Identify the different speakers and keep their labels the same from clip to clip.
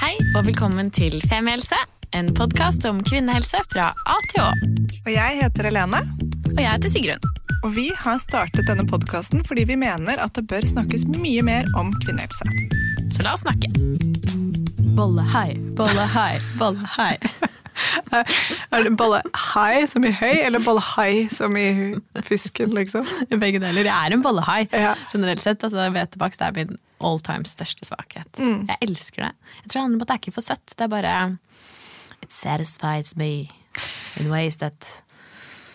Speaker 1: Hei og velkommen til Femihelse, en podkast om kvinnehelse fra A til Å.
Speaker 2: Og jeg heter Helene,
Speaker 1: Og jeg heter Sigrun.
Speaker 2: og vi har startet denne podkasten fordi vi mener at det bør snakkes mye mer om kvinnehelse.
Speaker 1: Så la oss snakke. Bolle hei, bolle hei, bolle hei.
Speaker 2: Er det bolle hai som i høy, eller bolle hai som i fisken, liksom?
Speaker 1: Begge deler. Jeg er en bolle hei.
Speaker 2: Ja.
Speaker 1: Generelt sett, altså hvetebakst er min all time største svakhet. Jeg elsker det. Jeg tror det handler om at det er ikke for søtt. Det er bare It satisfies me in ways that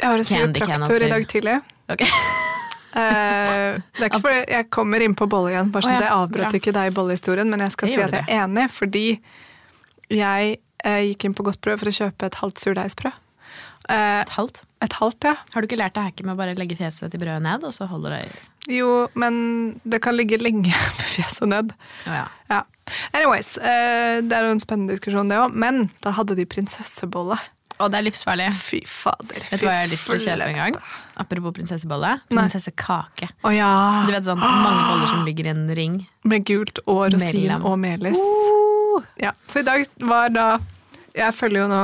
Speaker 3: Jeg har en
Speaker 1: Candy can up
Speaker 3: kiropraktor i
Speaker 1: til.
Speaker 3: dag tidlig.
Speaker 1: Ok.
Speaker 3: Eh, det er ikke fordi jeg kommer inn på bolle igjen, bare
Speaker 1: Å,
Speaker 3: sånn
Speaker 1: ja.
Speaker 3: at jeg avbrøt
Speaker 1: Ja.
Speaker 3: ikke deg i bollehistorien, men jeg skal
Speaker 1: Det
Speaker 3: si
Speaker 1: gjorde
Speaker 3: at jeg er enig, fordi jeg eh, gikk inn på Godt brød for å kjøpe et halvt surdeigsbrød. Eh,
Speaker 1: Et halvt.
Speaker 3: et halvt, ja.
Speaker 1: Har du ikke lært deg hacket med å bare legge fjeset til brødet ned, og så holder det i
Speaker 3: Jo, men det kan ligge lenge med fjeset ned.
Speaker 1: Å ja.
Speaker 3: Ja. Anyways, eh, det er jo en spennende diskusjon, det òg, men da hadde de prinsessebolle.
Speaker 1: Å, det er livsfarlig.
Speaker 3: Fy fader.
Speaker 1: Vet du hva jeg har lyst til å kjøpe en gang? Apropos prinsessebolle.
Speaker 3: Nei.
Speaker 1: Prinsessekake.
Speaker 3: Å ja.
Speaker 1: Du vet sånn mange boller som ligger i en ring.
Speaker 3: Med gult og rosin
Speaker 1: Mellom.
Speaker 3: og melis. Ja. Så i dag var da Jeg følger jo nå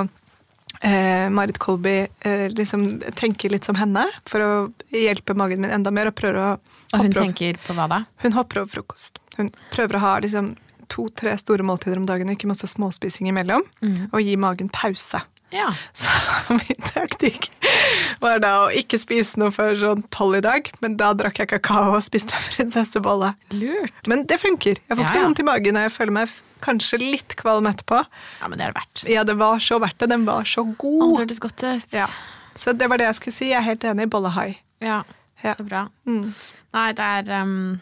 Speaker 3: eh, Marit Kolby eh, liksom tenker litt som henne for å hjelpe magen min enda mer. Og prøver å
Speaker 1: Og hun
Speaker 3: hopper over-
Speaker 1: tenker på hva da?
Speaker 3: hun hopper over frokost. Hun prøver å ha liksom to-tre store måltider om dagen og ikke masse småspising imellom.
Speaker 1: Mm.
Speaker 3: Og gi magen pause.
Speaker 1: Ja.
Speaker 3: Så min taktikk var da å ikke spise noe før sånn tolv i dag, men da drakk jeg kakao og spiste prinsessebolle.
Speaker 1: Lurt.
Speaker 3: Men det funker. Jeg får
Speaker 1: Ja,
Speaker 3: ikke
Speaker 1: ja.
Speaker 3: noe vondt i magen, og jeg føler meg f- kanskje litt kvalm etterpå.
Speaker 1: Ja, men det er det verdt.
Speaker 3: Ja, det var så verdt det. Den var så
Speaker 1: Å, det
Speaker 3: god.
Speaker 1: hørtes godt ut.
Speaker 3: Ja. Så det var det jeg skulle si. Jeg er helt enig. Bollehai.
Speaker 1: Ja,
Speaker 3: Ja.
Speaker 1: Så bra.
Speaker 3: Mm.
Speaker 1: Nei, det er um,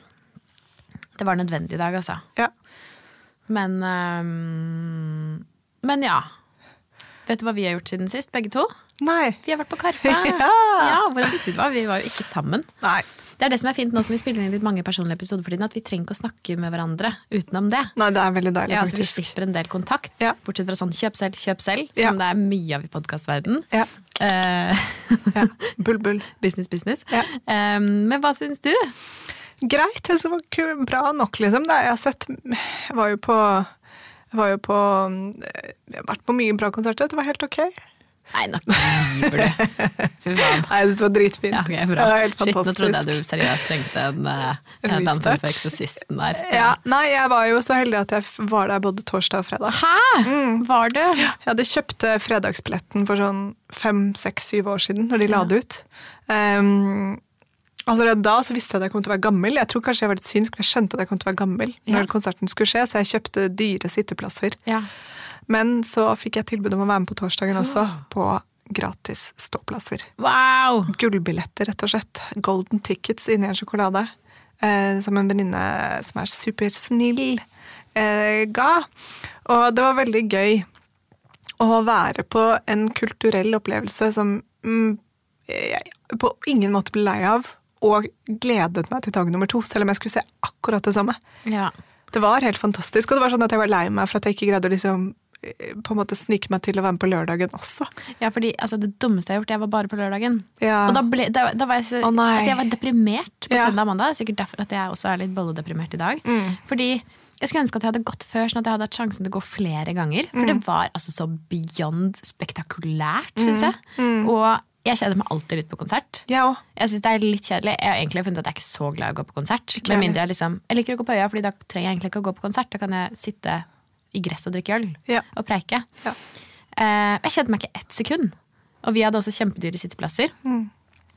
Speaker 1: Det var nødvendig i dag, altså.
Speaker 3: Ja.
Speaker 1: Men um, Men ja. Vet du hva vi har gjort siden sist, begge to?
Speaker 3: Nei.
Speaker 1: Vi har vært på Karpe.
Speaker 3: Ja.
Speaker 1: Ja, Hvordan syns du det var? Vi var jo ikke sammen.
Speaker 3: Nei.
Speaker 1: Det er det som er fint nå som vi spiller inn litt mange personlige episoder for tiden, at vi trenger ikke å snakke med hverandre utenom det.
Speaker 3: Nei, det er veldig deilig,
Speaker 1: Ja, altså, så vi
Speaker 3: faktisk.
Speaker 1: slipper en del kontakt,
Speaker 3: Ja.
Speaker 1: bortsett fra sånn kjøp selv, kjøp selv, som
Speaker 3: Ja.
Speaker 1: det er mye av i podkastverdenen.
Speaker 3: Ja.
Speaker 1: Eh,
Speaker 3: ja. Bull, bull.
Speaker 1: business, business.
Speaker 3: Ja.
Speaker 1: Eh, men hva syns du?
Speaker 3: Greit, det som var ku- bra nok, liksom. Det jeg har sett Jeg var jo på jeg var jo på mm, Jeg har vært på mye bra konserter. Det var helt ok.
Speaker 1: Nei, nå lyver du. Fy faen.
Speaker 3: Nei, jeg synes det var dritfint.
Speaker 1: Ja, ok,
Speaker 3: Det
Speaker 1: bra.
Speaker 3: var helt
Speaker 1: Shit, nå
Speaker 3: fantastisk.
Speaker 1: trodde jeg du seriøst trengte en eh, en eller annen form for Eksorsisten der.
Speaker 3: Ja, nei, jeg var jo så heldig at jeg f- var der både torsdag og fredag.
Speaker 1: Hæ?
Speaker 3: Mm.
Speaker 1: Var du?
Speaker 3: Jeg hadde kjøpt eh, fredagsbilletten for sånn fem, seks, syv år siden, når de la det ut. Ehm, allerede da så visste jeg at jeg kom til å være gammel. Jeg tror kanskje jeg var litt synsk, for jeg skjønte at jeg kom til å være gammel når
Speaker 1: Ja.
Speaker 3: konserten skulle skje, så jeg kjøpte dyre sitteplasser.
Speaker 1: Ja. Ah.
Speaker 3: Men så fikk jeg tilbud om å være med på torsdagen også, på gratis ståplasser.
Speaker 1: Wow!
Speaker 3: Gullbilletter, rett og slett. Golden tickets inni en sjokolade. Eh, som en venninne som er supersnill, eh, ga. Og det var veldig gøy å være på en kulturell opplevelse som mm, jeg på ingen måte ble lei av. Og gledet meg til dag nummer to, selv om jeg skulle se akkurat det samme.
Speaker 1: Ja.
Speaker 3: Det var helt fantastisk, og det var sånn at jeg var lei meg for at jeg ikke greide å liksom eh, på en måte snike meg til å være med på lørdagen også.
Speaker 1: ja, fordi altså, det dummeste jeg har gjort, jeg var bare på lørdagen.
Speaker 3: Ja.
Speaker 1: Og da ble, da, da var jeg, så,
Speaker 3: Å, nei.
Speaker 1: altså, jeg var deprimert på
Speaker 3: Ja. Mm.
Speaker 1: søndag og mandag. Sikkert derfor at jeg også er litt bolledeprimert i dag. Fordi jeg skulle ønske at jeg hadde gått før, sånn at jeg hadde hatt sjansen til å gå flere ganger.
Speaker 3: Mm.
Speaker 1: For det var altså så beyond spektakulært, syns
Speaker 3: Mm.
Speaker 1: jeg. Og jeg kjeder meg alltid litt på konsert.
Speaker 3: Jeg òg.
Speaker 1: Jeg synes det er litt kjedelig. Jeg har egentlig funnet at jeg er ikke så glad i å gå på konsert. Med
Speaker 3: heller.
Speaker 1: mindre jeg liksom Jeg liker å gå på øya, Fordi da trenger jeg egentlig ikke å gå på konsert. Da kan jeg sitte i gress og drikke øl
Speaker 3: Ja.
Speaker 1: og preike.
Speaker 3: Ja.
Speaker 1: Eh, jeg kjedde meg ikke ett sekund. Og vi hadde også kjempedyre sitteplasser.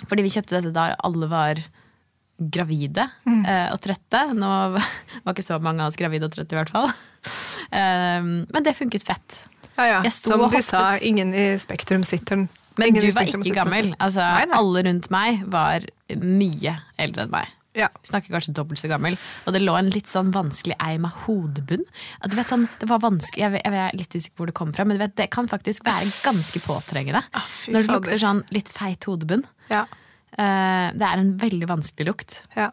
Speaker 1: Fordi vi kjøpte dette da alle var gravide eh, og trøtte. Nå var ikke så mange av oss gravide og trøtte, i hvert fall. Eh, men det funket fett.
Speaker 3: Ja, ja.
Speaker 1: Jeg sto
Speaker 3: Som
Speaker 1: og
Speaker 3: de
Speaker 1: hoppet.
Speaker 3: sa, ingen i Spektrum sitter den.
Speaker 1: Men
Speaker 3: ingen
Speaker 1: du
Speaker 3: i
Speaker 1: var
Speaker 3: Spektrum
Speaker 1: ikke
Speaker 3: sitter den.
Speaker 1: gammel. Altså,
Speaker 3: Nei, nei.
Speaker 1: Alle rundt meg var mye eldre enn meg.
Speaker 3: Ja.
Speaker 1: Vi snakker kanskje dobbelt så gammel. Og det lå en litt sånn vanskelig eim av hodebunn. At du vet sånn, det var vanskelig, jeg, vet- jeg er litt usikker hvor det kom fra, men du vet, det kan faktisk være ganske påtrengende.
Speaker 3: Ah, fy
Speaker 1: Når det
Speaker 3: fader.
Speaker 1: lukter sånn litt feit hodebunn.
Speaker 3: Ja,
Speaker 1: Eh, det er en veldig vanskelig lukt.
Speaker 3: ja.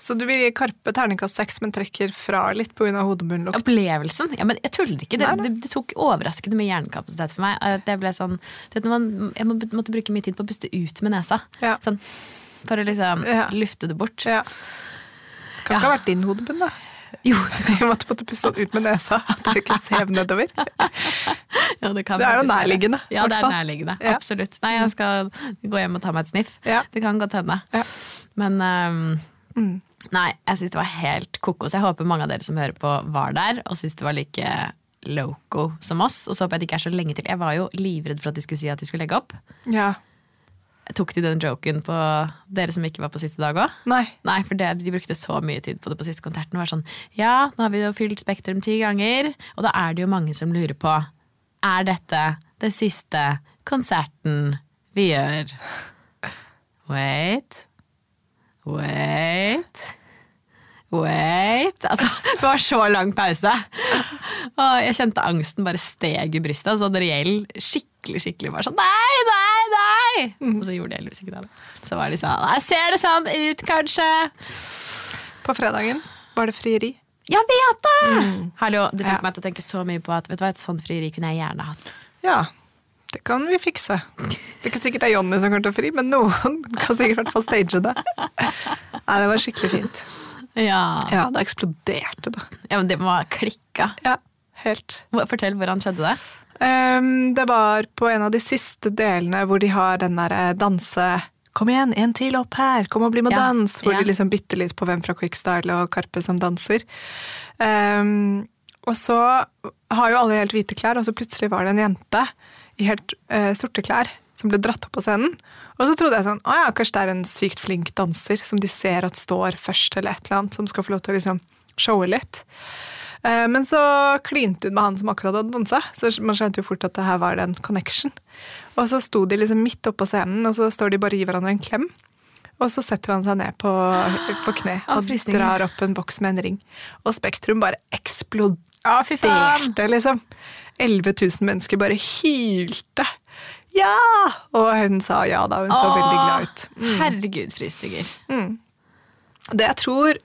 Speaker 3: Så du vil gi Karpe terningkast seks, men trekker fra litt pga. hodebunnlukt?
Speaker 1: Opplevelsen? Ja, men jeg tuller ikke. Det, det, det tok overraskende mye hjernekapasitet for meg. At Jeg, ble sånn, du vet, når man, jeg må- måtte bruke mye tid på å puste ut med nesa.
Speaker 3: Ja.
Speaker 1: Sånn, for å liksom
Speaker 3: Ja.
Speaker 1: lufte det bort.
Speaker 3: Ja. Kan ikke ha vært din hodebunn, da.
Speaker 1: Jo,
Speaker 3: Jeg måtte måtte puste den ut med nesa, at jeg ikke sev nedover.
Speaker 1: ja, det, kan
Speaker 3: Det er jo
Speaker 1: faktisk være.
Speaker 3: nærliggende, i
Speaker 1: Ja,
Speaker 3: hvert
Speaker 1: det er
Speaker 3: fall.
Speaker 1: nærliggende.
Speaker 3: Ja.
Speaker 1: Absolutt. Nei, jeg skal gå hjem og ta meg et sniff.
Speaker 3: Ja.
Speaker 1: Det kan godt hende.
Speaker 3: Ja. Mm.
Speaker 1: Men ehm, nei, jeg syns det var helt kokos. Jeg håper mange av dere som hører på, var der og syns det var like loco som oss. Og så håper jeg det ikke er så lenge til. Jeg var jo livredd for at de skulle si at de skulle legge opp.
Speaker 3: Ja.
Speaker 1: Tok de den joken på dere som ikke var på siste dag òg?
Speaker 3: Nei.
Speaker 1: Nei, for det, de brukte så mye tid på det på siste konserten. Det Var sånn, ja, nå har vi jo fylt Spektrum ti ganger, og da er det jo mange som lurer på Er dette det siste konserten vi gjør. Wait. Wait. Wait. Altså, det var så lang pause. Og jeg kjente angsten bare steg i brystet. Sånn reell, skikkelig, skikkelig bare sånn Nei, nei, nei! Og så gjorde jeg heldigvis ikke det. da. Så var de sånn Nei, ser det sånn ut, kanskje?
Speaker 3: På fredagen var det frieri.
Speaker 1: Jeg vet det! Hallo, Det fikk
Speaker 3: Mm. Ja.
Speaker 1: meg til å tenke så mye på at vet du hva, et sånt frieri kunne jeg gjerne hatt.
Speaker 3: Ja, det kan vi fikse. Det er ikke sikkert det er Jonny som kommer til å fri, men noen kan sikkert i hvert fall stage det. Nei, det var skikkelig fint.
Speaker 1: Ja,
Speaker 3: Ja, det eksploderte, da.
Speaker 1: ja men Det må ha klikka.
Speaker 3: Ja, helt.
Speaker 1: Hva- Fortell hvordan skjedde det.
Speaker 3: Ehm, det var på en av de siste delene hvor de har den derre danse Kom igjen, en til opp her, kom og bli med og
Speaker 1: Ja,
Speaker 3: dans! Hvor
Speaker 1: ja.
Speaker 3: de liksom bytter litt på hvem fra Quickstyle og Karpe som danser. Ehm, og så har jo alle helt hvite klær, og så plutselig var det en jente i helt eh, sorte klær som ble dratt opp på scenen. Og så trodde jeg sånn, å ja, kanskje det er en sykt flink danser som de ser at står først, eller et eller annet, som skal få lov til å liksom showe litt. Eh, Men så klinte hun med han som akkurat hadde dansa, så man skjønte jo fort at det her var en connection. Og så sto de liksom midt oppe på scenen, og så står de bare og gir hverandre en klem. Og så setter han seg ned på, på kne
Speaker 1: Å, Ah,
Speaker 3: og
Speaker 1: frysninger.
Speaker 3: drar opp en boks med en ring. Og Spektrum bare eksploderte,
Speaker 1: Å, fy faen!
Speaker 3: liksom. 11 000 mennesker bare hylte. Ja! Og hun sa ja da, hun så veldig glad ut. Mm.
Speaker 1: Herregud, fristinger.
Speaker 3: Det jeg tror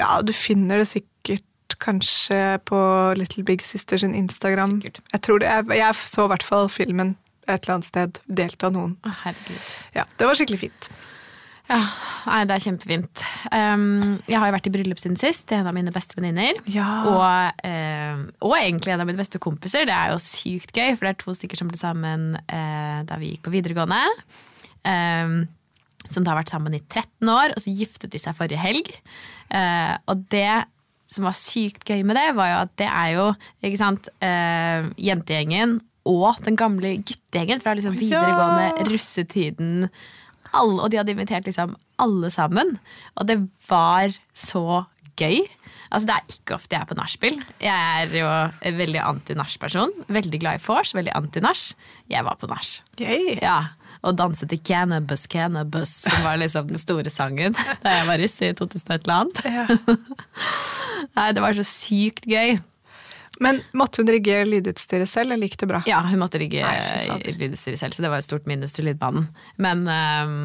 Speaker 3: Ja, du finner det sikkert kanskje på Little Big Sister sin Instagram.
Speaker 1: Sikkert.
Speaker 3: Jeg, tror det, jeg, jeg så i hvert fall filmen et eller annet sted, delt av noen.
Speaker 1: Å, herregud.
Speaker 3: Ja, Det var skikkelig fint.
Speaker 1: Ja, nei, det er kjempefint. Um, jeg har jo vært i bryllup siden sist til en av mine beste venninner.
Speaker 3: Ja.
Speaker 1: Og, um, og egentlig en av mine beste kompiser. Det er jo sykt gøy, for det er to stykker som ble sammen eh, da vi gikk på videregående. Um, som da har vært sammen i 13 år, og så giftet de seg forrige helg. Eh, og det som var sykt gøy med det, var jo at det er jo ikke sant, eh, jentegjengen og den gamle guttegjengen fra liksom videregående russetiden. Alle, og de hadde invitert liksom alle sammen. Og det var så gøy. Altså Det er ikke ofte jeg er på nachspiel. Jeg er jo en veldig anti-nach-person. Veldig glad i vors, veldig anti-nach. Jeg var på nach.
Speaker 3: Yay.
Speaker 1: Ja, og danse til Cannabis, Cannabis, som var liksom den store sangen da jeg var russ i 2000 et eller annet. Nei, det var så sykt gøy.
Speaker 3: Men måtte hun rigge lydutstyret selv? Jeg likte det bra.
Speaker 1: Ja, hun måtte rigge
Speaker 3: Nei, fy fader.
Speaker 1: lydutstyret selv, så det var et stort minus til lydbanen. Men ehm,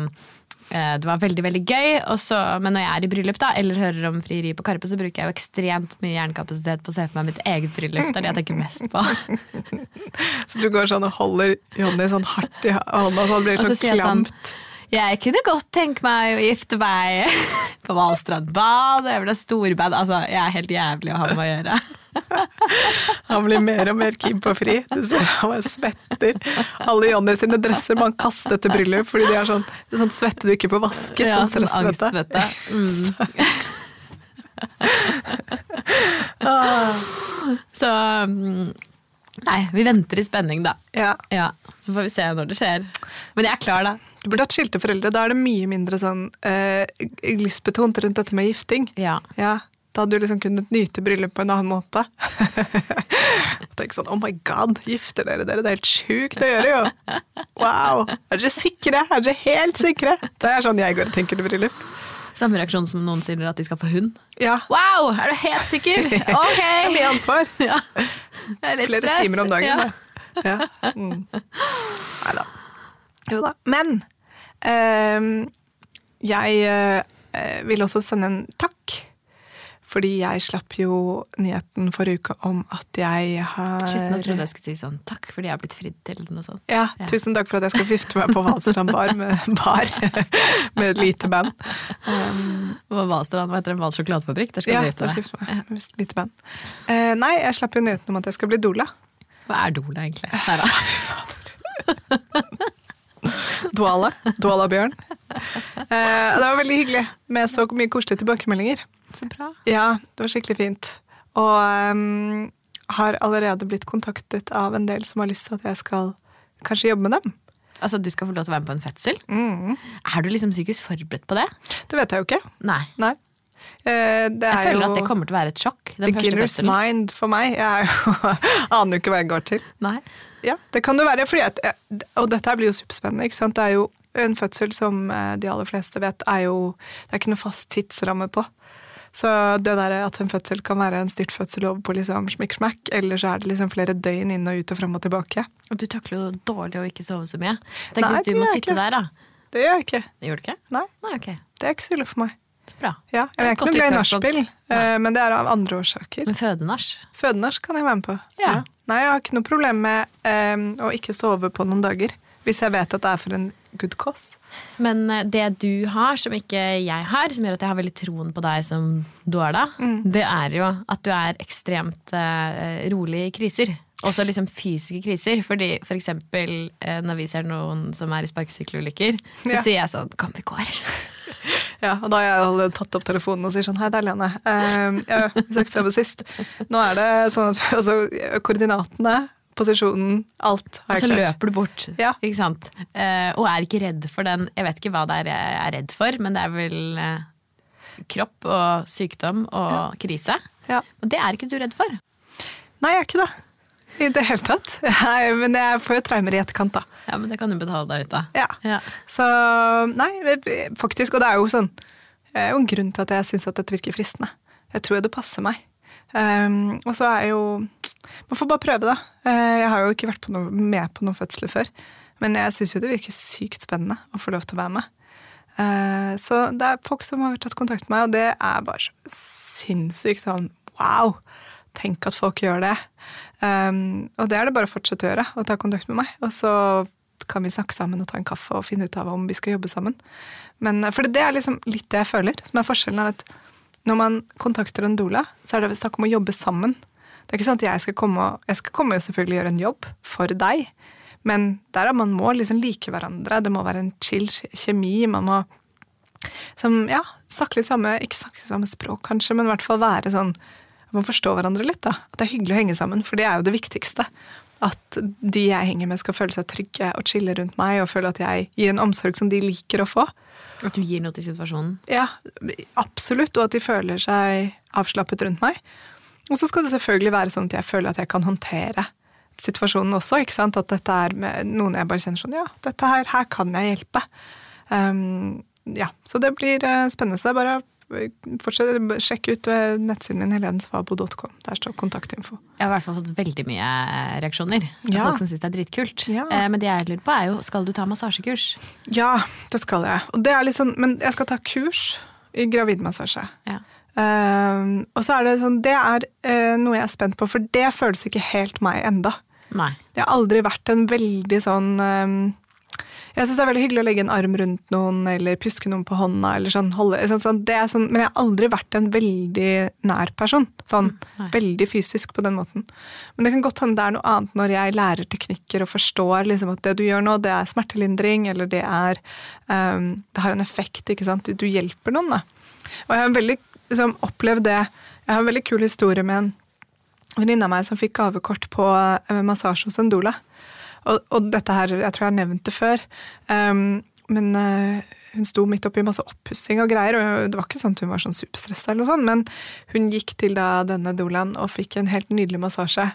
Speaker 1: eh, det var veldig, veldig gøy. Og så, men når jeg er i bryllup da, eller hører om frieri på Karpe, så bruker jeg jo ekstremt mye hjernekapasitet på å se for meg mitt eget bryllup. Det er det jeg tenker mest på.
Speaker 3: Så du går sånn og holder Jonny sånn hardt i hånda, så han blir
Speaker 1: Og så
Speaker 3: så
Speaker 1: sier jeg sånn
Speaker 3: klamt.
Speaker 1: Jeg kunne godt tenke meg å gifte meg på Valstrand bad. Jeg vil ha storband. Altså, jeg er helt jævlig å ha med å gjøre.
Speaker 3: Han blir mer og mer keen på fri. Du ser han bare svetter. Alle Jonny sine dresser må han kaste etter bryllup, fordi de har sånn, det er sånn svette du ikke får vasket.
Speaker 1: Ja,
Speaker 3: sånn
Speaker 1: sånn
Speaker 3: stressvette.
Speaker 1: angstsvette. Mm. Så mm, Nei, vi venter i spenning, da.
Speaker 3: Ja.
Speaker 1: Ja, Så får vi se når det skjer. Men jeg er klar, da.
Speaker 3: Du burde hatt skilte foreldre. Da er det mye mindre sånn eh, lystbetont rundt dette med gifting.
Speaker 1: Ja.
Speaker 3: Ja, Da hadde du liksom kunnet nyte bryllup på en annen måte. Tenk sånn, oh my god, gifter dere dere? Det er helt sjukt å gjøre, jo! Wow! Er dere sikre? Er dere helt sikre? Det er sånn jeg går og tenker til bryllup.
Speaker 1: Samme reaksjon som noen sier at de skal få hund.
Speaker 3: Ja.
Speaker 1: Wow, er du helt sikker? Ok!
Speaker 3: Mye ansvar.
Speaker 1: Ja. Det er litt
Speaker 3: Flere
Speaker 1: stress.
Speaker 3: timer om dagen.
Speaker 1: Ja.
Speaker 3: da. Ja. Mm. Nei da. Jo da. Men ehm, jeg eh, vil også sende en takk. Fordi jeg slapp jo nyheten forrige uke om at jeg har
Speaker 1: Shit, nå trodde jeg skulle si sånn takk fordi jeg er blitt fridd til eller noe sånt.
Speaker 3: Ja,
Speaker 1: Ja.
Speaker 3: tusen takk for at jeg skal fifte meg på Valstrand bar med, bar, med et lite band.
Speaker 1: Hva Valstrand, hva heter det? Vals sjokoladefabrikk? Der Ehm, skal
Speaker 3: Ja,
Speaker 1: du
Speaker 3: da
Speaker 1: gifte deg.
Speaker 3: skifter jeg meg. Visst, Lite band. Eh, nei, jeg slapp jo nyheten om at jeg skal bli doula.
Speaker 1: Hva er dola, egentlig? Neida.
Speaker 3: Dwala. Dwala Bjørn. Eh, det var veldig hyggelig med så mye koselige tilbakemeldinger.
Speaker 1: Så bra.
Speaker 3: Ja, det var skikkelig fint. Og ehm, har allerede blitt kontaktet av en del som har lyst til at jeg skal kanskje jobbe med dem.
Speaker 1: Altså, du skal få lov til å være med på en fødsel?
Speaker 3: Mm.
Speaker 1: Er du liksom psykisk forberedt på det?
Speaker 3: Det vet jeg jo ikke.
Speaker 1: Nei.
Speaker 3: Nei. Eh, det
Speaker 1: Jeg
Speaker 3: er
Speaker 1: føler
Speaker 3: jo
Speaker 1: at det kommer til å være et sjokk. Den første
Speaker 3: beginner's
Speaker 1: fødselen.
Speaker 3: mind for meg. Jeg er jo, aner jo ikke hva jeg går til.
Speaker 1: Nei.
Speaker 3: Ja, det kan det være. Fordi at, eh, og dette her blir jo superspennende. ikke sant? Det er jo en fødsel som eh, de aller fleste vet, er jo Det er ikke noe fast tidsramme på. Så det der at en fødsel kan være en styrtfødsel over på liksom smikksmakk, eller så er det liksom flere døgn inn og ut og fram og tilbake.
Speaker 1: Og du takler jo dårlig å ikke sove så mye. Tenk
Speaker 3: Nei,
Speaker 1: hvis du
Speaker 3: det
Speaker 1: må
Speaker 3: gjør jeg
Speaker 1: sitte
Speaker 3: ikke.
Speaker 1: der, da.
Speaker 3: Det gjør jeg ikke.
Speaker 1: Det gjør du ikke?
Speaker 3: Nei,
Speaker 1: Nei, ok.
Speaker 3: det er ikke så ille for meg.
Speaker 1: Så bra.
Speaker 3: Ja, jeg er
Speaker 1: et
Speaker 3: ikke
Speaker 1: godt
Speaker 3: noe glad i
Speaker 1: utgangspunkt.
Speaker 3: nachspiel, eh, men det er av andre årsaker.
Speaker 1: Men fødenasj?
Speaker 3: Fødenasj kan jeg være med på.
Speaker 1: Ja.
Speaker 3: Nei, jeg har ikke noe problem med eh, å ikke sove på noen dager. Hvis jeg vet at det er for en good cause.
Speaker 1: Men eh, det du har som ikke jeg har, som gjør at jeg har veldig troen på deg som Dora,
Speaker 3: Mm.
Speaker 1: det er jo at du er ekstremt eh, rolig i kriser. Også liksom fysiske kriser. Fordi for eksempel eh, når vi ser noen som er i sparkesykkelulykker, så
Speaker 3: Ja.
Speaker 1: sier jeg sånn Kom, vi går.
Speaker 3: Ja, og da har jeg allerede tatt opp telefonen og sier sånn Hei, det er Lene. Eh, ja, vi snakket sammen sist. Nå er det sånn at altså, koordinatene, posisjonen, alt
Speaker 1: Og
Speaker 3: har
Speaker 1: så
Speaker 3: jeg klart.
Speaker 1: løper du bort.
Speaker 3: Ja.
Speaker 1: Ikke sant? Eh, og er ikke redd for den Jeg vet ikke hva det er jeg er redd for, men det er vel eh, kropp og sykdom og krise.
Speaker 3: Ja.
Speaker 1: Og det er ikke du redd for.
Speaker 3: Nei, jeg er ikke det. I det hele tatt. Nei, men jeg får jo traumer i etterkant, da.
Speaker 1: Ja, men det kan du betale deg ut av.
Speaker 3: Ja. Så nei, faktisk. Og det er jo sånn Det er jo en grunn til at jeg syns at dette virker fristende. Jeg tror det passer meg. Ehm, og så er jo Man får bare prøve, da. Eh, jeg har jo ikke vært på noe, med på noen fødsler før. Men jeg syns jo det virker sykt spennende å få lov til å være med. Eh, så det er folk som har tatt kontakt med meg, og det er bare så sinnssykt sånn wow! Tenk at folk gjør det. Ehm, og det er det bare å fortsette å gjøre, og ta kontakt med meg. Og så kan vi snakke sammen og ta en kaffe og finne ut av om vi skal jobbe sammen. Men, eh, for det er liksom litt det jeg føler, som er forskjellen er at når man kontakter en doula, så er det snakk om å jobbe sammen. Det er ikke sånn at jeg skal komme og Jeg skal komme og selvfølgelig gjøre en jobb for deg, men der er man må liksom like hverandre. Det må være en chill kjemi. Man må som, ja, snakke litt samme, ikke snakke samme språk kanskje, men i hvert fall være sånn at man forstår hverandre litt. da. At det er hyggelig å henge sammen, for det er jo det viktigste. At de jeg henger med, skal føle seg trygge og chille rundt meg, og føle at jeg gir en omsorg som de liker å få.
Speaker 1: At du gir noe til situasjonen.
Speaker 3: Ja, absolutt, og at de føler seg avslappet rundt meg. Og så skal det selvfølgelig være sånn at jeg føler at jeg kan håndtere situasjonen også. ikke sant? At dette er med noen jeg bare kjenner sånn Ja, dette her, her kan jeg hjelpe. Um, ja, Så det blir eh, spennende. Så det er bare å fortsette, sjekk ut eh, nettsiden min helensvabo.com. Der står kontaktinfo.
Speaker 1: Jeg har i hvert fall fått veldig mye eh, reaksjoner. fra
Speaker 3: Ja.
Speaker 1: Folk som syns det er dritkult.
Speaker 3: Ja.
Speaker 1: Eh, men det jeg lurer på, er jo skal du ta massasjekurs?
Speaker 3: Ja, det skal jeg. Og det er litt sånn, men jeg skal ta kurs i gravidmassasje.
Speaker 1: Ja.
Speaker 3: Um, og så er det sånn, det er eh, noe jeg er spent på, for det føles ikke helt meg enda.
Speaker 1: Nei.
Speaker 3: Jeg har aldri vært en veldig sånn um, Jeg syns det er veldig hyggelig å legge en arm rundt noen eller puske noen på hånda. Eller sånn, holde, sånn, sånn, det er sånn, men jeg har aldri vært en veldig nær person. Sånn veldig fysisk på den måten. Men det kan godt hende det er noe annet når jeg lærer teknikker og forstår liksom, at det du gjør nå, det er smertelindring, eller det er um, Det har en effekt, ikke sant. Du, du hjelper noen, da. Og jeg har veldig liksom, opplevd det. Jeg har en veldig kul historie med en venninne av meg som fikk gavekort på eh, massasje hos en doula. Og, og dette her, jeg tror jeg har nevnt det før, ehm, men eh, hun sto midt oppi masse oppussing og greier, og det var ikke sånn at hun var sånn superstressa eller noe sånt, men hun gikk til da denne doulaen og fikk en helt nydelig massasje,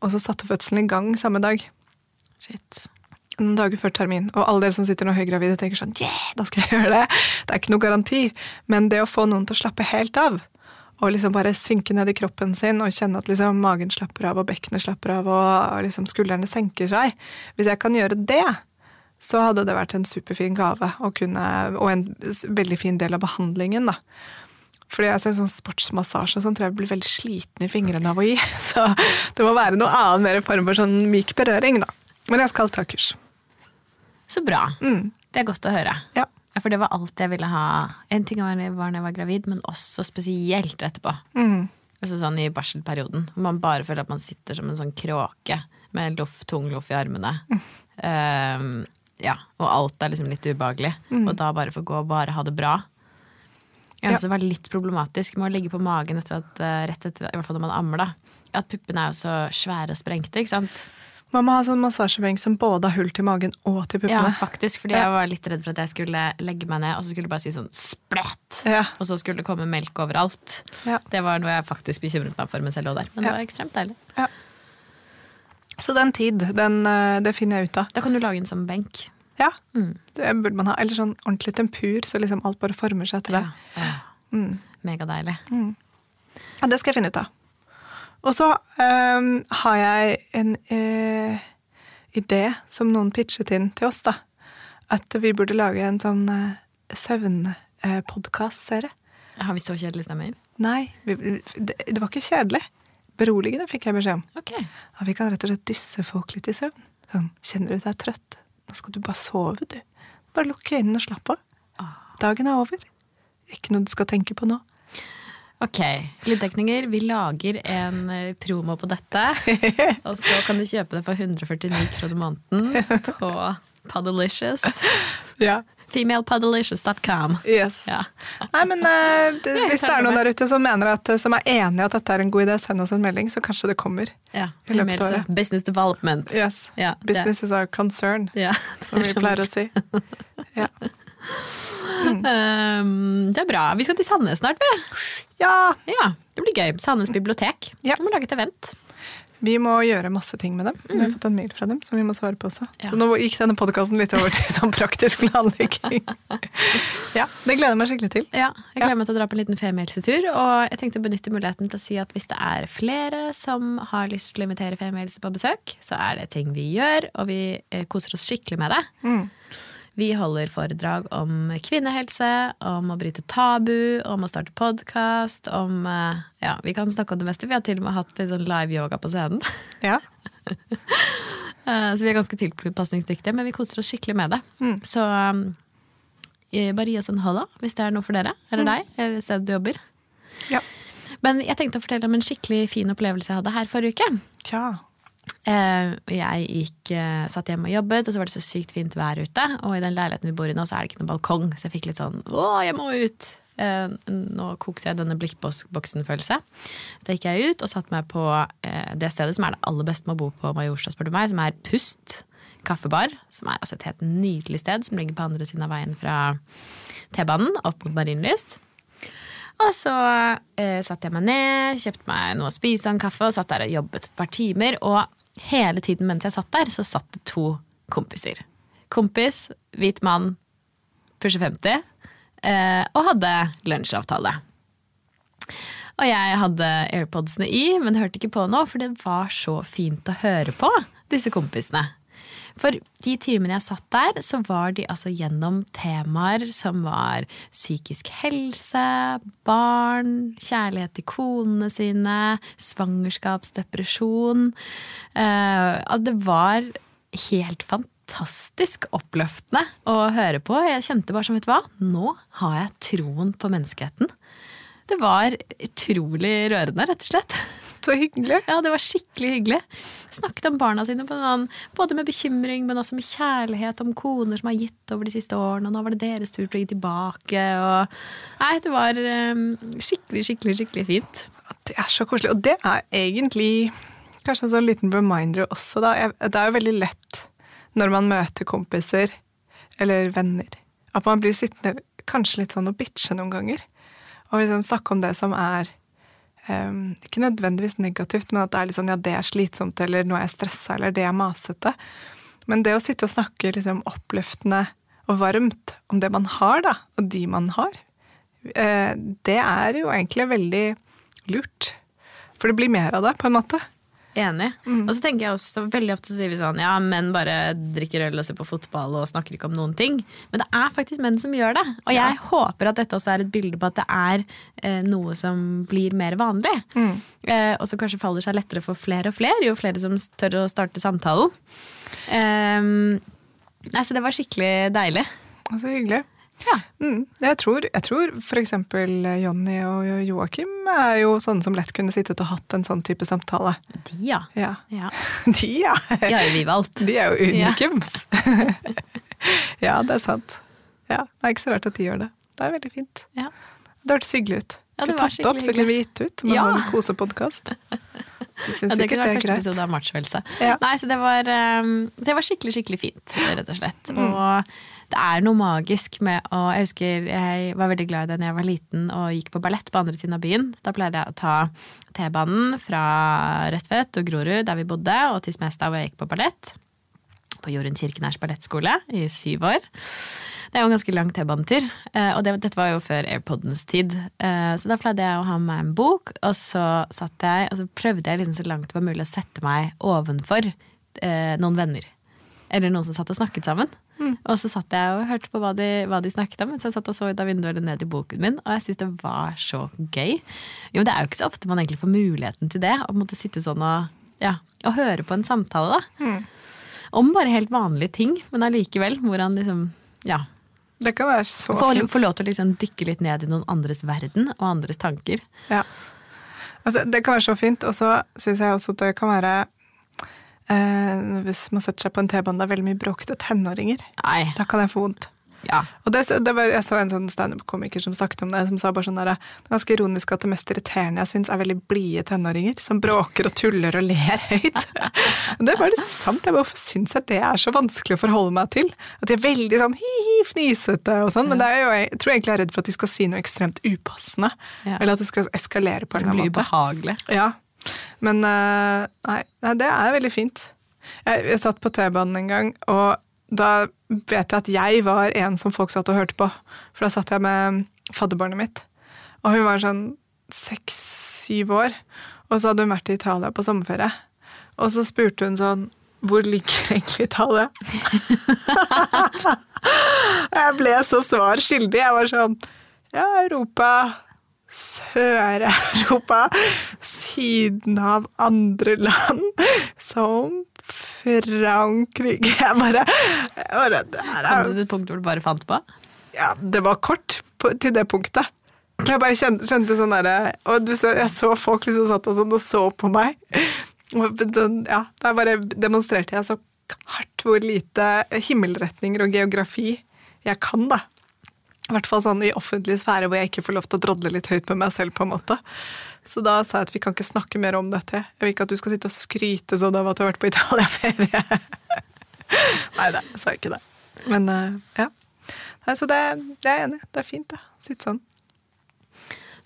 Speaker 3: og så satte fødselen i gang samme dag.
Speaker 1: Shit.
Speaker 3: noen dager før termin, og alle dere som sitter nå høygravide tenker sånn yeah, da skal jeg gjøre det. Det er ikke noe garanti. Men det å få noen til å slappe helt av, og liksom bare synke ned i kroppen sin og kjenne at liksom magen slapper av og bekkenet slapper av og og liksom skuldrene senker seg Hvis jeg kan gjøre det, så hadde det vært en superfin gave å kunne, og en s- veldig fin del av behandlingen. da. Fordi jeg ser sånn sportsmassasje og sånn, tror jeg blir veldig sliten i fingrene av å gi. Så det må være noe annet mer form for sånn myk berøring, da. Men jeg skal ta kurs.
Speaker 1: Så bra. Det er godt å høre.
Speaker 3: Mm. Ja.
Speaker 1: Ja, For det var alt jeg ville ha. En ting var var når jeg var gravid, men også spesielt etterpå.
Speaker 3: Mm.
Speaker 1: Altså sånn I barselperioden. Hvor man bare føler at man sitter som en sånn kråke med loff, tung loff i armene. Ehm, ja, Og alt er liksom litt ubehagelig.
Speaker 3: Mm.
Speaker 1: Og da bare få gå og bare ha det bra. Jeg synes det var litt problematisk med å ligge på magen etter at, eh, rett etter, i hvert fall når man ammer, da. At puppene er jo så svære og sprengte, ikke sant.
Speaker 3: Man må ha sånn massasjebenk som både har hull til magen og til
Speaker 1: Ja,
Speaker 3: puppene.
Speaker 1: faktisk, fordi jeg var litt redd for at jeg skulle legge meg ned, og så skulle det bare si sånn splett!
Speaker 3: Ja.
Speaker 1: Og så skulle det komme melk overalt.
Speaker 3: Ja.
Speaker 1: Det var noe jeg faktisk bekymret meg for mens jeg lå der. Men
Speaker 3: Ja.
Speaker 1: det var ekstremt deilig.
Speaker 3: Så den tid, den, eh, det finner jeg ut av.
Speaker 1: Da kan du lage en sånn benk.
Speaker 3: Ja,
Speaker 1: Mm.
Speaker 3: det burde man ha. Eller sånn ordentlig tempur, så liksom alt bare former seg til det.
Speaker 1: Ja.
Speaker 3: Mm.
Speaker 1: Megadeilig.
Speaker 3: Ja, det skal jeg finne ut av. Og så øhm, har jeg en eh, idé som noen pitchet inn til oss, da. At vi burde lage en sånn uh, søvnpodkast-serie.
Speaker 1: Har vi så kjedelig stemmer?
Speaker 3: Nei, vi, det, det var ikke kjedelig. Beroligende fikk jeg beskjed om.
Speaker 1: Ok.
Speaker 3: Ja, vi kan rett og slett dysse folk litt i søvn. Sånn, kjenner du deg trøtt? Nå skal du bare sove, du. Bare lukk øynene og slapp av.
Speaker 1: Ah.
Speaker 3: Dagen er over. Ikke noe du skal tenke på nå.
Speaker 1: Ok, Lydtekninger, vi lager en eh, promo på dette. Og så kan du kjøpe det for 149 kroner måneden på Puddalicious.
Speaker 3: Ja.
Speaker 1: Femalepuddalicious.com.
Speaker 3: Yes.
Speaker 1: Ja.
Speaker 3: Nei, men eh, det,
Speaker 1: Jeg
Speaker 3: Hvis det
Speaker 1: kan
Speaker 3: er
Speaker 1: love.
Speaker 3: noen der ute som, mener at, eh, som er enig i at dette er en god idé, send oss en melding, så kanskje det kommer.
Speaker 1: Ja,
Speaker 3: I løpet av
Speaker 1: female-
Speaker 3: året.
Speaker 1: Business development.
Speaker 3: Yes.
Speaker 1: Ja, det-
Speaker 3: Business is our concern,
Speaker 1: Ja,
Speaker 3: som vi pleier å si. Ja,
Speaker 1: Ehm, det er bra. Vi skal til Sandnes snart, vi.
Speaker 3: ja
Speaker 1: Ja, det blir gøy. Sandnes bibliotek.
Speaker 3: Ja.
Speaker 1: Vi må lage et event.
Speaker 3: vi må gjøre masse ting med dem. Vi har fått en mail fra dem som vi må svare på også.
Speaker 1: Mm. Ja.
Speaker 3: Så nå gikk denne podkasten litt over til sånn praktisk planlegging. ja, det gleder jeg meg skikkelig til.
Speaker 1: Ja, jeg gleder meg til å dra på en liten femihelsetur. Og jeg tenkte å benytte muligheten til å si at hvis det er flere som har lyst til å invitere femihelse på besøk, så er det ting vi gjør, og vi eh, koser oss skikkelig med det. Vi holder foredrag om kvinnehelse, om å bryte tabu, om å starte podkast, om eh, Ja, vi kan snakke om det meste. Vi har til og med hatt litt sånn live yoga på scenen.
Speaker 3: Ja.
Speaker 1: Eh, Så vi er ganske tilpasningsdyktige, men vi koser oss skikkelig med det. Så um, eh, bare gi oss en halla hvis det er noe for dere, eller deg, eller stedet du jobber.
Speaker 3: Ja.
Speaker 1: Men jeg tenkte å fortelle om en skikkelig fin opplevelse jeg hadde her forrige uke.
Speaker 3: Tja.
Speaker 1: Eh, og jeg gikk, eh, satt hjemme og jobbet, og så var det så sykt fint vær ute. Og i den leiligheten vi bor i nå, så er det ikke noen balkong, så jeg fikk litt sånn å, jeg må ut! Eh, nå kokser jeg denne blikkboksen-følelse. Da gikk jeg ut og satte meg på eh, det stedet som er det aller beste med å bo på Majorstua, spør du meg, som er Pust kaffebar. Som er altså et helt nydelig sted, som ligger på andre siden av veien fra T-banen opp mot Marienlyst. Og så eh, satte jeg meg ned, kjøpte meg noe å spise og en kaffe, og satt der og jobbet et par timer. Og hele tiden mens jeg satt der, så satt det to kompiser. Kompis, hvit mann, pusher 50, eh, og hadde lunsjavtale. Og jeg hadde airpodsene i, men hørte ikke på noe, for det var så fint å høre på disse kompisene. For de timene jeg satt der, så var de altså gjennom temaer som var psykisk helse, barn, kjærlighet til konene sine, svangerskapsdepresjon. Eh, at det var helt fantastisk oppløftende å høre på. Jeg kjente bare som, vet du hva, nå har jeg troen på menneskeheten. Det var utrolig rørende, rett og slett.
Speaker 3: Så hyggelig.
Speaker 1: Ja, det var skikkelig hyggelig. Snakket om barna sine, på en annen, både med bekymring, men også med kjærlighet, om koner som har gitt over de siste årene, og nå var det deres tur til å gi tilbake. Og... Nei, det var em, skikkelig, skikkelig, skikkelig fint.
Speaker 3: Det er så koselig. Og det er egentlig kanskje en sånn liten reminder også, da. Jeg- Det er jo veldig lett når man møter kompiser eller venner, at man blir sittende kanskje litt sånn og bitche noen ganger. Og liksom snakke om det som er em, Ehm, ikke nødvendigvis negativt, men at det er litt sånn ja, det er slitsomt, eller nå er jeg stressa, eller det er masete. Men det å sitte og snakke liksom, oppløftende og varmt om det man har, da, og de man har, eh, det er jo egentlig veldig lurt. For det blir mer av det, på en måte.
Speaker 1: Enig. Og så tenker jeg også, veldig ofte så sier vi sånn ja, menn bare drikker øl og ser på fotball og snakker ikke om noen ting. Men det er faktisk menn som gjør det. Og jeg håper at dette også er et bilde på at det er eh, noe som blir mer vanlig. Eh, og som kanskje faller seg lettere for flere og flere, jo flere som tør å starte samtalen. Ehm, nei, så det var skikkelig deilig.
Speaker 3: Og Så hyggelig. Mm. Jeg tror, jeg tror f.eks. Jonny og Joakim er jo sånne som lett kunne sittet og hatt en sånn type samtale.
Speaker 1: De, ja.
Speaker 3: Ja.
Speaker 1: Ja,
Speaker 3: De, ja!
Speaker 1: de har jo vi valgt.
Speaker 3: De er jo unikums. Ja. det er sant. Ja, Det er ikke så rart at de gjør det. Det er veldig fint.
Speaker 1: Ja.
Speaker 3: Det hørtes hyggelig ut.
Speaker 1: Ja, det
Speaker 3: Skulle
Speaker 1: var
Speaker 3: tatt det opp,
Speaker 1: skikkelig
Speaker 3: så kunne vi gitt ut.
Speaker 1: Ja.
Speaker 3: Men ja. en kosepodkast. Du syns
Speaker 1: Ja, det
Speaker 3: sikkert
Speaker 1: kunne
Speaker 3: det
Speaker 1: vært
Speaker 3: er
Speaker 1: første
Speaker 3: greit.
Speaker 1: episode av Matchfølelse.
Speaker 3: Ja.
Speaker 1: Nei, så det var, ehm, det var skikkelig, skikkelig fint, rett og slett.
Speaker 3: Mm.
Speaker 1: Og det er noe magisk med å Jeg husker jeg var veldig glad i det da jeg var liten og gikk på ballett på andre siden av byen. Da pleide jeg å ta T-banen fra Rødtvet og Grorud, der vi bodde, og til Smestad, hvor jeg gikk på ballett. På Jorunn Kirkenærs ballettskole i syv år. Det er jo en ganske lang T-banetur, eh, og det, dette var jo før AirPodens tid. Eh, Så da pleide jeg å ha med meg en bok, og så satt jeg, og så prøvde jeg liksom så langt det var mulig å sette meg ovenfor eh, noen venner. Eller noen som satt og snakket sammen. Og så satt jeg og hørte på hva de, hva de snakket om, mens jeg satt og så ut av vinduet eller ned i boken min, og jeg syntes det var så gøy. Jo, det er jo ikke så ofte man egentlig får muligheten til det, å på en måte sitte sånn og, ja, og høre på en samtale, da. Om bare helt vanlige ting, men allikevel, hvordan liksom ja,
Speaker 3: Det kan være så
Speaker 1: få,
Speaker 3: fint.
Speaker 1: få lov til å liksom dykke litt ned i noen andres verden og andres tanker.
Speaker 3: Ja. Altså, det kan være så fint, og så syns jeg også at det kan være eh, Hvis man setter seg på en T-bane, det er veldig mye bråkete tenåringer.
Speaker 1: Nei,
Speaker 3: Da kan jeg få vondt.
Speaker 1: ja.
Speaker 3: Og det, det var, jeg så en sånn standup-komiker som snakket om det, som sa bare sånn der, det er ganske ironisk at det mest irriterende jeg syns, er veldig blide tenåringer som bråker og tuller og ler høyt. det var liksom sant. Jeg bare, Hvorfor syns jeg det er så vanskelig å forholde meg til? At de er veldig sånn hi-hi, fnisete og sånn. Men det er jo, jeg tror egentlig jeg er redd for at de skal si noe ekstremt upassende.
Speaker 1: Ja.
Speaker 3: Eller at det skal eskalere på en
Speaker 1: Det
Speaker 3: eller
Speaker 1: blir
Speaker 3: annen måte.
Speaker 1: ubehagelig.
Speaker 3: Ja, men eh, nei, nei, det er veldig fint. Jeg, jeg satt på T-banen en gang, og da vet jeg at jeg var en som folk satt og hørte på. For da satt jeg med fadderbarnet mitt, og hun var sånn seks-syv år. Og så hadde hun vært i Italia på sommerferie, og så spurte hun sånn hvor ligger egentlig Italia? jeg ble så svar skyldig. Jeg var sånn Ja, Europa. Sør-Europa, Syden av andre land, som Frankrike. Jeg bare, jeg bare det, her
Speaker 1: Kom
Speaker 3: er,
Speaker 1: du til et punkt hvor du bare fant på?
Speaker 3: ja, det var kort på, til det punktet. Jeg bare kjente, kjente sånn derre Og du så, jeg så folk liksom satt og sånn og så på meg. Og sånn, ja, da bare demonstrerte jeg så hardt hvor lite himmelretninger og geografi jeg kan, da. I hvert fall sånn i offentlig sfære hvor jeg ikke får lov til å drodle litt høyt med meg selv. på en måte. Så da sa jeg at vi kan ikke snakke mer om dette. Jeg vil ikke at du skal sitte og skryte sånn av at du har vært på Italia-ferie. Nei da, jeg sa ikke det. Men eh, ja. Nei, så det, det er jeg enig i. Det er fint, det. Sitte sånn.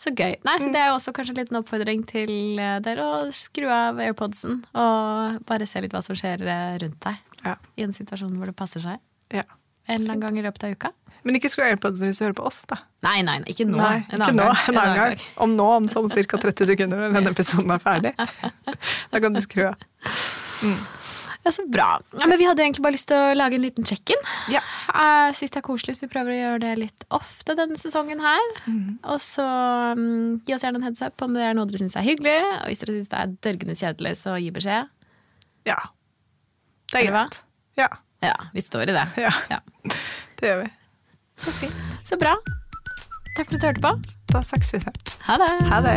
Speaker 1: Så gøy. Nei,
Speaker 3: Mm.
Speaker 1: så det er jo også kanskje en liten oppfordring til eh, dere å skru av airpodsen og bare se litt hva som skjer eh, rundt deg
Speaker 3: Ja.
Speaker 1: i en situasjon hvor det passer seg.
Speaker 3: ja.
Speaker 1: En eller annen gang i løpet av uka.
Speaker 3: Men ikke skru airpodsene hvis du hører på oss, da.
Speaker 1: Nei, nei, nei, ikke nå.
Speaker 3: Nei,
Speaker 1: En
Speaker 3: ikke
Speaker 1: annen
Speaker 3: nå.
Speaker 1: gang.
Speaker 3: En annen gang. Om nå, om sånn ca. 30 sekunder når denne episoden er ferdig. Da kan du skru av.
Speaker 1: Ja, så bra. Ja, men vi hadde jo egentlig bare lyst til å lage en liten check-in.
Speaker 3: Ja.
Speaker 1: Jeg syns det er koselig hvis vi prøver å gjøre det litt ofte denne sesongen her. Og så mm, gi oss gjerne en heads up om det er noe dere syns er hyggelig. Og hvis dere syns det er dørgende kjedelig, så gi beskjed.
Speaker 3: Ja. Det er
Speaker 1: Eller hva?
Speaker 3: greit. Ja,
Speaker 1: Ja, vi står i det.
Speaker 3: Ja. det gjør vi.
Speaker 1: Så bra. Takk for at du hørte på.
Speaker 3: Da snakkes vi sen.
Speaker 1: Ha det.
Speaker 3: Ha det.